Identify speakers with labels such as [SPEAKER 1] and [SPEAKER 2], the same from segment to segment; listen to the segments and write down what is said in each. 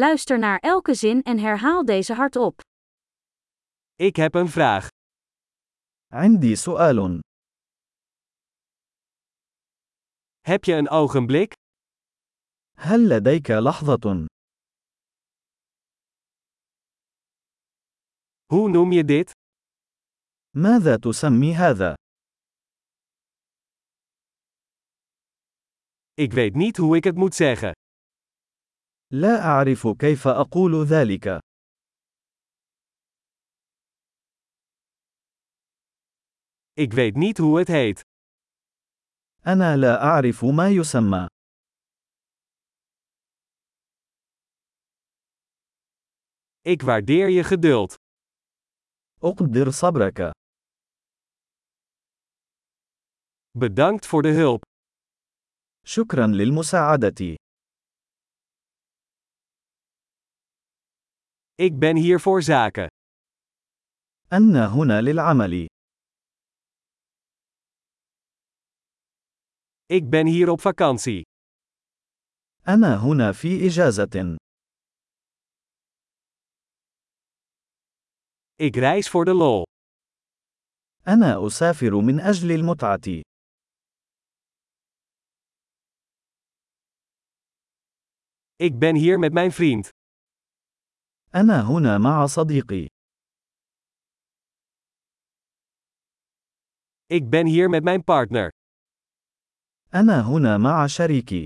[SPEAKER 1] Luister naar elke zin en herhaal deze hardop.
[SPEAKER 2] Ik heb een vraag.
[SPEAKER 3] عندي سؤال.
[SPEAKER 2] Heb je een ogenblik?
[SPEAKER 3] هل لديك لحظة؟
[SPEAKER 2] Hoe noem je dit?
[SPEAKER 3] ماذا تسمي هذا؟
[SPEAKER 2] Ik weet niet hoe ik het moet zeggen.
[SPEAKER 3] لا أعرف كيف أقول ذلك.
[SPEAKER 2] Ik weet niet hoe het heet.
[SPEAKER 3] أنا لا أعرف ما يسمى.
[SPEAKER 2] Ik waardeer je geduld.
[SPEAKER 3] أقدر صبرك.
[SPEAKER 2] Bedankt voor de hulp.
[SPEAKER 3] شكرا للمساعدة.
[SPEAKER 2] Ik ben hier voor zaken.
[SPEAKER 3] أنا هنا للعمل.
[SPEAKER 2] Ik ben hier op vakantie.
[SPEAKER 3] أنا هنا في إجازة.
[SPEAKER 2] Ik reis voor de lol.
[SPEAKER 3] أنا أسافر من أجل المتعة.
[SPEAKER 2] Ik ben hier met mijn vriend.
[SPEAKER 3] أنا هنا مع صديقي.
[SPEAKER 2] Ik ben hier met mijn partner.
[SPEAKER 3] أنا هنا مع شريكي.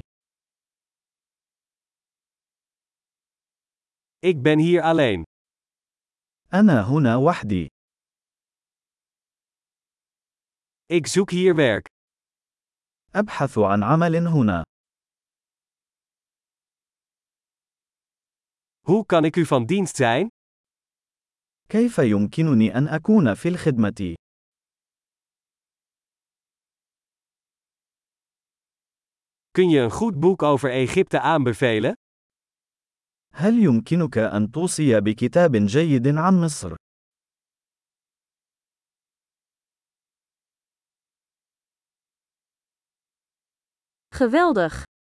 [SPEAKER 2] Ik ben hier alleen.
[SPEAKER 3] أنا هنا وحدي.
[SPEAKER 2] Ik zoek hier werk.
[SPEAKER 3] أبحث عن عمل هنا.
[SPEAKER 2] Hoe kan ik u van dienst zijn?
[SPEAKER 3] كيف يمكنني أن أكون في الخدمة؟
[SPEAKER 2] Kun je een goed boek over Egypte aanbevelen?
[SPEAKER 3] هل يمكنك أن توصي بكتاب جيد عن مصر؟
[SPEAKER 1] Geweldig!